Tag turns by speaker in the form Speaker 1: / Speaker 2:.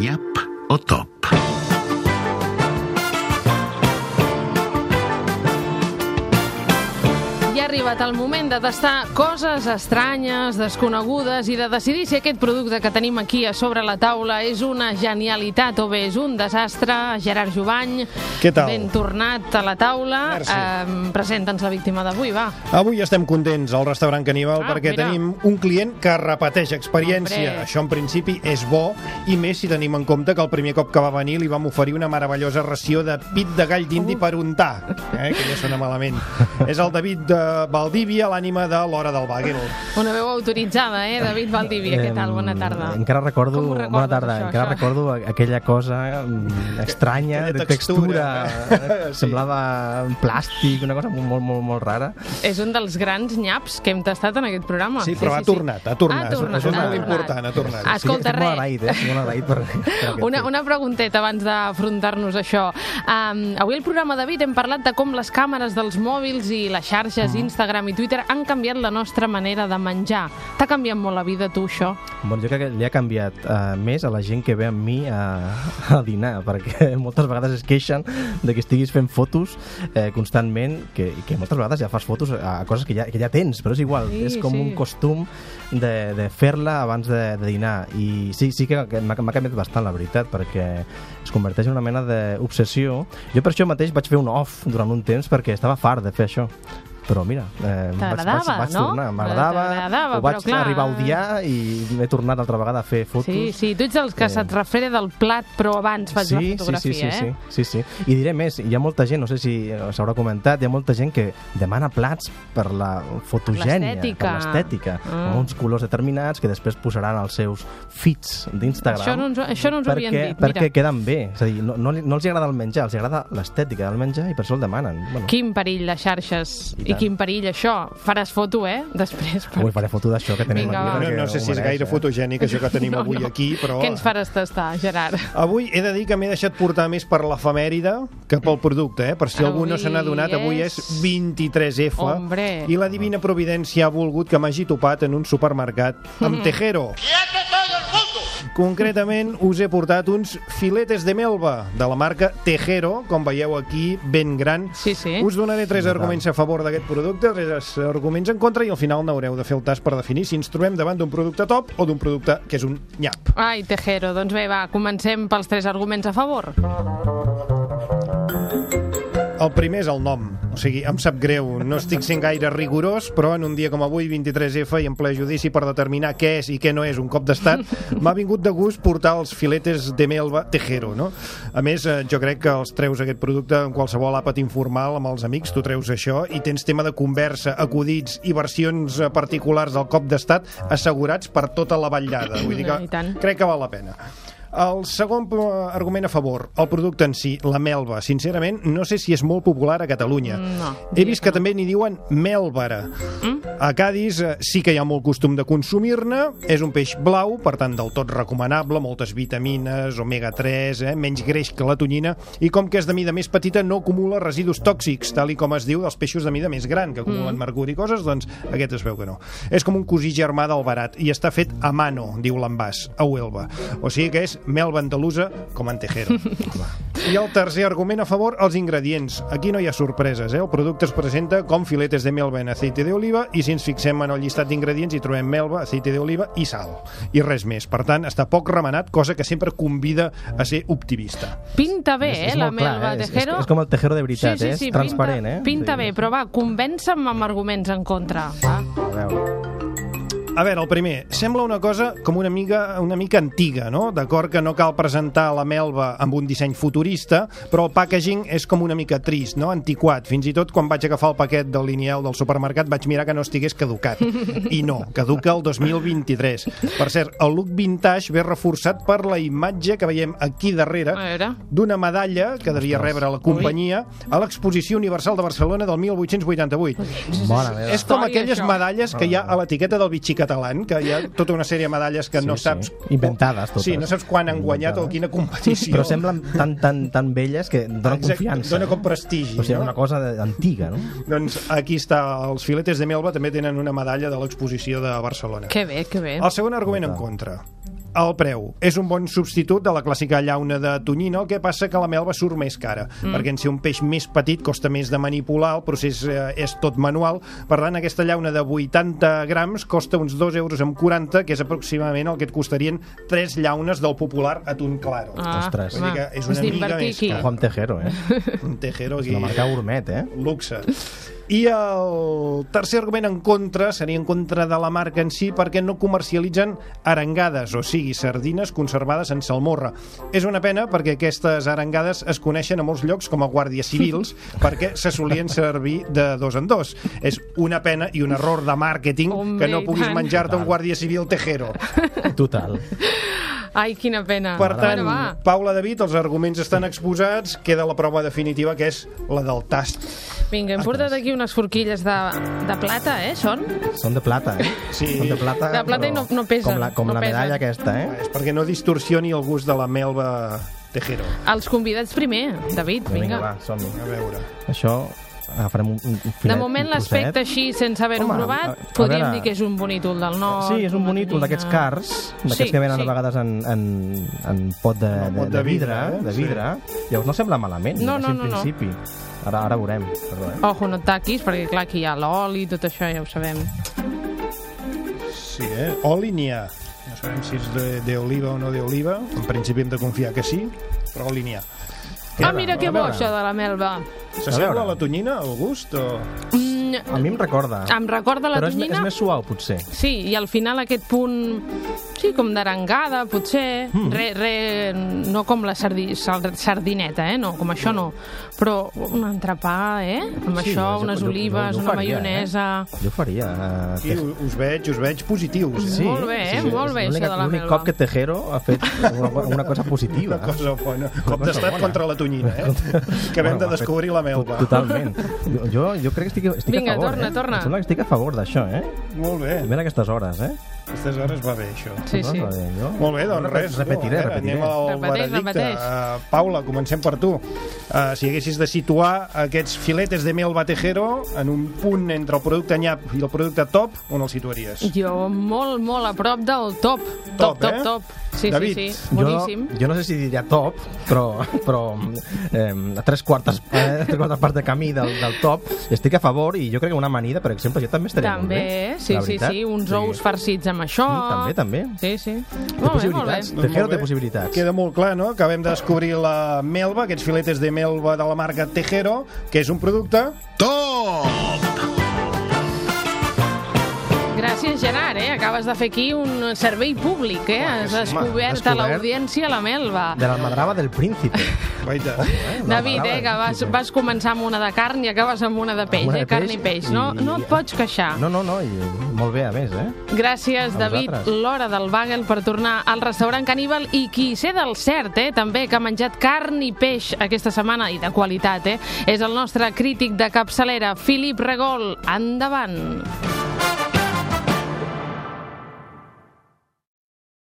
Speaker 1: Nyap o top.
Speaker 2: Ja ha arribat el moment de tastar coses estranyes, desconegudes i de decidir si aquest producte que tenim aquí a sobre la taula és una genialitat o bé és un desastre. Gerard Jovany,
Speaker 3: Què tal?
Speaker 2: ben tornat a la taula.
Speaker 3: Merci.
Speaker 2: Eh, Presenta'ns la víctima d'avui, va.
Speaker 3: Avui estem contents al restaurant Caníbal
Speaker 2: Ah,
Speaker 3: perquè
Speaker 2: mira.
Speaker 3: tenim un client que repeteix experiència.
Speaker 2: Hombre.
Speaker 3: Això en principi és bo i més si tenim en compte que el primer cop que va venir li vam oferir una meravellosa ració de pit de gall
Speaker 2: Uh.
Speaker 3: d'indi per untar, eh? que ja sona malament. és el David de Valdívia, l'ànima de l'Hora del Bagel.
Speaker 2: Una veu autoritzada, eh? David Valdivia, què tal? Bona tarda.
Speaker 4: Em, encara recordo,
Speaker 2: Com ho recordes,
Speaker 4: bona tarda,
Speaker 2: això,
Speaker 4: encara
Speaker 2: això?
Speaker 4: recordo a- aquella cosa mm, estranya,
Speaker 3: Que té
Speaker 4: de textura, eh?
Speaker 3: textura. Sí.
Speaker 4: semblava un plàstic, una cosa molt, molt, molt, molt rara.
Speaker 2: És un dels grans nyaps que hem tastat en aquest programa.
Speaker 3: Sí, però ha tornat, ha tornat.
Speaker 2: Ha tornat,
Speaker 3: és un
Speaker 2: ha
Speaker 3: molt
Speaker 2: tornat.
Speaker 3: important, ha tornat.
Speaker 2: Ah, Escolta,
Speaker 4: estic, estic molt
Speaker 2: re.
Speaker 4: agraït, eh? Estic molt agraït per, per aquest
Speaker 2: Una,
Speaker 4: fet.
Speaker 2: una pregunteta abans d'afrontar-nos a això. Um, avui al programa, David, hem parlat de com les càmeres dels mòbils i les xarxes,
Speaker 4: Mm.
Speaker 2: Instagram i Twitter han canviat la nostra manera de menjar. T'ha canviat molt la vida, tu, això?
Speaker 4: Bon, jo crec que li ha canviat uh, més a la gent que ve amb mi a, a dinar, perquè moltes vegades es queixen de que estiguis fent fotos eh, constantment, que, que moltes vegades ja fas fotos a, a coses que ja, que ja tens, però és igual,
Speaker 2: Sí,
Speaker 4: és com
Speaker 2: sí.
Speaker 4: un costum de, de fer-la abans de, de dinar. I sí, sí que que m'ha m'ha canviat bastant, la veritat, perquè es converteix en una mena d'obsessió. Jo per això mateix vaig fer un off durant un temps perquè estava fart de fer això. Però mira, eh, vaig, vaig,
Speaker 2: T'agradava,
Speaker 4: vaig
Speaker 2: no?
Speaker 4: tornar, m'agradava,
Speaker 2: T'agradava,
Speaker 4: ho vaig
Speaker 2: però clar,
Speaker 4: arribar a odiar i m'he tornat altra vegada a fer fotos.
Speaker 2: Sí, sí, tu ets dels que
Speaker 4: Eh.
Speaker 2: se't refere del plat, però abans faig la
Speaker 4: sí,
Speaker 2: fotografia,
Speaker 4: sí, sí, sí,
Speaker 2: eh?
Speaker 4: sí, sí, sí. I diré més, hi ha molta gent, no sé si eh, s'haurà comentat, hi ha molta gent que demana plats per la fotogènia,
Speaker 2: l'estètica.
Speaker 4: per l'estètica,
Speaker 2: Ah.
Speaker 4: amb uns colors determinats que després posaran als seus feeds d'Instagram.
Speaker 2: Això no ens ho- això no ens ho havien
Speaker 4: perquè,
Speaker 2: dit, mira.
Speaker 4: Perquè queden bé, és a dir, no, no, li- no els hi agrada el menjar, els hi agrada l'estètica del menjar i per això el demanen. Bueno,
Speaker 2: Quin perill les xarxes
Speaker 4: I
Speaker 2: i,
Speaker 4: tant.
Speaker 2: quin perill això. Faràs foto, eh? Després.
Speaker 4: Avui faré foto d'això que tenim
Speaker 2: Vinga,
Speaker 4: aquí.
Speaker 2: va.
Speaker 4: perquè
Speaker 3: No, no sé
Speaker 4: ho
Speaker 3: si és
Speaker 4: mereix,
Speaker 3: gaire
Speaker 4: eh?
Speaker 3: fotogènic això que tenim
Speaker 2: No,
Speaker 3: avui
Speaker 2: no.
Speaker 3: aquí, però...
Speaker 2: Què ens faràs tastar, Gerard?
Speaker 3: Avui he de dir que m'he deixat portar més per l'efemèride que pel producte, eh? per si algú no
Speaker 2: Avui
Speaker 3: se n'ha donat, avui és
Speaker 2: és
Speaker 3: 23F
Speaker 2: Hombre.
Speaker 3: i la divina providència ha volgut que m'hagi topat en un supermercat
Speaker 2: Mm.
Speaker 3: amb tejero. Concretament us he portat uns filetes de melva de la marca Tejero, com veieu aquí, ben gran.
Speaker 2: Sí, sí.
Speaker 3: Us donaré tres arguments a favor d'aquest producte, tres arguments en contra i al final n'haureu de fer el tas per definir si ens trobem davant d'un producte top o d'un producte que és un nyap.
Speaker 2: Ai, Tejero, doncs bé, va, comencem pels tres arguments a favor.
Speaker 3: El primer és el nom. O sigui, em sap greu, no estic sent gaire rigorós, però en un dia com avui, 23F, i en ple judici per determinar què és i què no és un cop d'estat, m'ha vingut de gust portar els filetes de melva tejero, no? A més, eh, jo crec que els treus aquest producte en qualsevol àpat informal amb els amics, tu treus això i tens tema de conversa, acudits i versions eh, particulars del cop d'estat assegurats per tota la vetllada. Vull
Speaker 2: I
Speaker 3: dir que
Speaker 2: tant.
Speaker 3: crec que val la pena. El segon eh, argument a favor, el producte en si, la melva. Sincerament, no sé si és molt popular a Catalunya.
Speaker 2: No,
Speaker 3: He vist que també n'hi diuen melvara. A Cádiz eh, sí que hi ha molt costum de consumir-ne. És un peix blau, per tant, del tot recomanable, moltes vitamines, omega-3, eh, menys greix que la tonyina, i com que és de mida més petita, no acumula residus tòxics, tal i com es diu dels peixos de mida més gran, que acumulen mercuri i coses, doncs aquest es veu que no. És com un cosí germà del barat, i està fet a mano, diu l'envàs, a Huelva. O sigui que és melva andalusa com en Tejero. I el tercer argument a favor, els ingredients. Aquí no hi ha sorpreses, eh? El producte es presenta com filetes de melva en aceite d'oliva i si ens fixem en el llistat d'ingredients hi trobem melva, aceite d'oliva i sal. I res més. Per tant, està poc remenat, cosa que sempre convida a ser optimista.
Speaker 2: Pinta bé,
Speaker 4: És- és
Speaker 2: eh, la
Speaker 4: molt clar,
Speaker 2: melva
Speaker 4: eh? És-
Speaker 2: Tejero.
Speaker 4: És, és, com el tejero de veritat, eh? és transparent,
Speaker 2: pinta,
Speaker 4: eh?
Speaker 2: Pinta
Speaker 4: Sí.
Speaker 2: bé, però va, convença'm amb arguments en contra. Ah, Va.
Speaker 4: A veure.
Speaker 3: A veure, el primer, sembla una cosa com una mica, una mica antiga, no? D'acord que no cal presentar la melva amb un disseny futurista, però el packaging és com una mica trist, no? Antiquat. Fins i tot quan vaig agafar el paquet del lineal del supermercat vaig mirar que no estigués caducat. I no, caduca el 2023. Per cert, el look vintage ve reforçat per la imatge que veiem aquí darrere,
Speaker 2: A veure.
Speaker 3: d'una medalla que devia rebre la companyia a l'Exposició Universal de Barcelona del 1888.
Speaker 4: Mona meva.
Speaker 3: És com
Speaker 2: Història,
Speaker 3: aquelles
Speaker 2: això.
Speaker 3: medalles que hi ha a l'etiqueta del bitxí català, que hi ha tota una sèrie de medalles que
Speaker 4: Sí,
Speaker 3: no
Speaker 4: sí.
Speaker 3: saps...
Speaker 4: Inventades, totes.
Speaker 3: Sí, no saps quan han guanyat o
Speaker 4: Inventades.
Speaker 3: quina competició.
Speaker 4: Però semblen tan, tan, tan velles que donen
Speaker 3: Exacte,
Speaker 4: confiança. eh?
Speaker 3: Dona com prestigi.
Speaker 4: O sigui,
Speaker 3: no?
Speaker 4: una cosa de- antiga, no?
Speaker 3: Doncs aquí està, els filetes de melva també tenen una medalla de l'exposició de Barcelona.
Speaker 2: Que bé, que bé.
Speaker 3: El segon argument en contra. el preu. És un bon substitut de la clàssica llauna de tonyina, el que passa que la melva surt més cara, mm. perquè en ser un peix més petit costa més de manipular, el procés eh, és tot manual, per tant aquesta llauna de 80 grams costa uns 2 euros amb 40, que és aproximadament el que et costarien 3 llaunes del popular atún claro.
Speaker 2: Ah,
Speaker 4: Ostres.
Speaker 3: Vull dir que
Speaker 2: has
Speaker 3: és una mica
Speaker 2: d'invertir
Speaker 3: més
Speaker 2: aquí.
Speaker 3: car.
Speaker 4: Juan Tejero, eh?
Speaker 3: Un tejero
Speaker 4: És una
Speaker 3: aquí.
Speaker 4: marca gourmet, eh?
Speaker 3: luxe. I el tercer argument en contra seria en contra de la marca en si perquè no comercialitzen arengades, o sigui, sardines conservades en salmorra. És una pena perquè aquestes arengades es coneixen a molts llocs com a guàrdies civils perquè se solien servir de dos en dos. És una pena i un error de màrqueting
Speaker 2: Hombre,
Speaker 3: que no
Speaker 2: i
Speaker 3: puguis
Speaker 2: tant.
Speaker 3: menjar-te un guàrdia civil tejero.
Speaker 4: Total.
Speaker 2: Ai, quina pena.
Speaker 3: Per tant,
Speaker 2: Bueno, va.
Speaker 3: Paula David, els arguments estan exposats, queda la prova definitiva que és la del tast.
Speaker 2: Vinga, hem portat aquí unes forquilles de, de plata, eh, són?
Speaker 4: Són de plata, eh?
Speaker 3: Sí.
Speaker 4: Són de plata,
Speaker 2: De plata i
Speaker 4: però
Speaker 2: no- no pesen,
Speaker 4: Com la, com
Speaker 2: no
Speaker 4: la
Speaker 2: pesen.
Speaker 4: medalla aquesta, eh?
Speaker 3: És perquè no distorsioni el gust de la melva tejero.
Speaker 2: Els convidats primer, David, vinga.
Speaker 4: va, som -hi.
Speaker 3: A veure...
Speaker 4: Això agafarem un, un, un filet,
Speaker 2: De moment
Speaker 4: un trosset.
Speaker 2: l'aspecte així, sense haver-ho
Speaker 4: Home, a-
Speaker 2: provat,
Speaker 4: a
Speaker 2: podríem
Speaker 4: veure-
Speaker 2: dir que és un bonítol del nord.
Speaker 4: Sí, és un
Speaker 2: una
Speaker 4: bonítol d'aquests
Speaker 2: tonyina.
Speaker 4: cars, d'aquests
Speaker 2: Sí,
Speaker 4: que venen
Speaker 2: sí.
Speaker 4: a vegades en, en, en pot de,
Speaker 3: En
Speaker 4: de,
Speaker 3: pot eh?
Speaker 4: de vidre, de vidre. Sí. Llavors no sembla malament,
Speaker 2: No,
Speaker 4: així
Speaker 2: no,
Speaker 4: en
Speaker 2: no, no.
Speaker 4: principi. Ara, ara veurem. Perdó, eh?
Speaker 2: Ojo, no et taquis, perquè clar, aquí hi ha l'oli, tot això ja ho sabem.
Speaker 3: Sí, eh? Oli n'hi ha. No sabem si és de- d'oliva o no d'oliva. En principi hem de confiar que sí, però oli n'hi ha.
Speaker 2: ah, mira que
Speaker 4: a
Speaker 2: bo
Speaker 4: veure.
Speaker 2: això de la melva.
Speaker 3: S'assembla
Speaker 4: veure.
Speaker 3: a la tonyina, el gust? O...
Speaker 2: Mm,
Speaker 4: A mi em recorda.
Speaker 2: em recorda la
Speaker 4: però és, me-
Speaker 2: tonyina?
Speaker 4: és més suau, potser.
Speaker 2: Sí, i al final aquest punt, sí, com d'arengada, potser,
Speaker 4: Mm.
Speaker 2: re, re, no com la sardi, sal- sardineta, eh? no, com això no, però un entrepà, eh? amb
Speaker 4: Sí,
Speaker 2: això,
Speaker 4: jo-
Speaker 2: unes
Speaker 4: jo- jo-
Speaker 2: olives,
Speaker 4: jo ho
Speaker 2: una
Speaker 4: faria, eh?
Speaker 2: maionesa...
Speaker 4: Jo ho faria. eh,
Speaker 3: Sí,
Speaker 4: Tejero.
Speaker 3: u- us veig, us veig positius. Eh?
Speaker 2: Sí. Molt bé, eh?
Speaker 4: és
Speaker 2: Molt bé,
Speaker 4: l'únic-
Speaker 2: això de la
Speaker 4: L'únic
Speaker 2: melva.
Speaker 4: cop que Tejero ha fet una, una cosa positiva.
Speaker 3: Una cosa bona. Cop
Speaker 4: cosa
Speaker 3: d'estat
Speaker 4: bona.
Speaker 3: contra la tonyina, eh? Que hem
Speaker 4: Bueno,
Speaker 3: de
Speaker 4: va,
Speaker 3: descobrir la melva.
Speaker 4: Totalment. Jo, jo, jo crec que estic, estic
Speaker 2: Vinga,
Speaker 4: a favor.
Speaker 2: torna,
Speaker 4: eh?
Speaker 2: torna.
Speaker 4: Em sembla que estic a favor d'això, eh?
Speaker 3: Molt
Speaker 4: I
Speaker 3: bé.
Speaker 4: mira aquestes hores, eh?
Speaker 3: Aquestes hores va bé, això.
Speaker 2: Sí, sí.
Speaker 4: Doncs, eh, jo-
Speaker 3: Molt bé, doncs
Speaker 4: Repet-
Speaker 3: res.
Speaker 4: Repetiré,
Speaker 3: no, a veure, Anem
Speaker 4: repetiré.
Speaker 3: al
Speaker 2: Repeteix,
Speaker 3: veredicte.
Speaker 2: repeteix.
Speaker 3: Uh, Paula, comencem per tu. Uh, si haguessis de situar aquests filetes de mel batejero en un punt entre el producte nyap i el producte top, on els situaries?
Speaker 2: Jo molt, molt a prop del top.
Speaker 3: Top,
Speaker 2: Top, top,
Speaker 3: eh?
Speaker 2: top. Sí,
Speaker 3: David,
Speaker 2: sí, sí.
Speaker 4: Jo,
Speaker 2: Boníssim.
Speaker 4: jo no sé si diria top, però, però eh, a tres quartes, eh, tres quartes parts de camí del, del top estic a favor i jo crec que una amanida, per exemple, jo també estaria molt
Speaker 2: També,
Speaker 4: bé.
Speaker 2: sí,
Speaker 4: eh? la
Speaker 2: sí,
Speaker 4: veritat.
Speaker 2: sí. Uns ous farcits amb això.
Speaker 4: Mm, també, també.
Speaker 2: Sí, sí.
Speaker 4: Té
Speaker 2: Molt bé, molt bé.
Speaker 4: possibilitats. Tejero
Speaker 3: Doncs molt
Speaker 4: té
Speaker 3: bé.
Speaker 4: possibilitats.
Speaker 3: Queda molt clar, no?, que hem de descobrir la melva, aquests filetes de melva de la marca Tejero, que és un producte...
Speaker 2: Gràcies, Gerard, eh? Acabes de fer aquí un servei públic, eh? Has descobert a
Speaker 4: descobert.
Speaker 2: l'audiència la melva.
Speaker 4: De l'almadrava del príncipe.
Speaker 3: Guaita.
Speaker 4: Eh?
Speaker 2: David,
Speaker 4: L'almadrava
Speaker 2: eh,
Speaker 4: del
Speaker 2: que vas,
Speaker 4: príncipe.
Speaker 2: vas començar amb una de carn i acabes amb una de peix,
Speaker 4: Una de
Speaker 2: eh? Carn i peix. No, no et pots queixar.
Speaker 4: No, no, no, i molt bé, a més, eh?
Speaker 2: Gràcies,
Speaker 4: A
Speaker 2: David.
Speaker 4: vosaltres.
Speaker 2: L'hora del bagel per tornar al restaurant Caníbal i qui sé del cert, eh, també, que ha menjat carn i peix aquesta setmana, i de qualitat, eh, és el nostre crític de capçalera, Filip Regol. Endavant.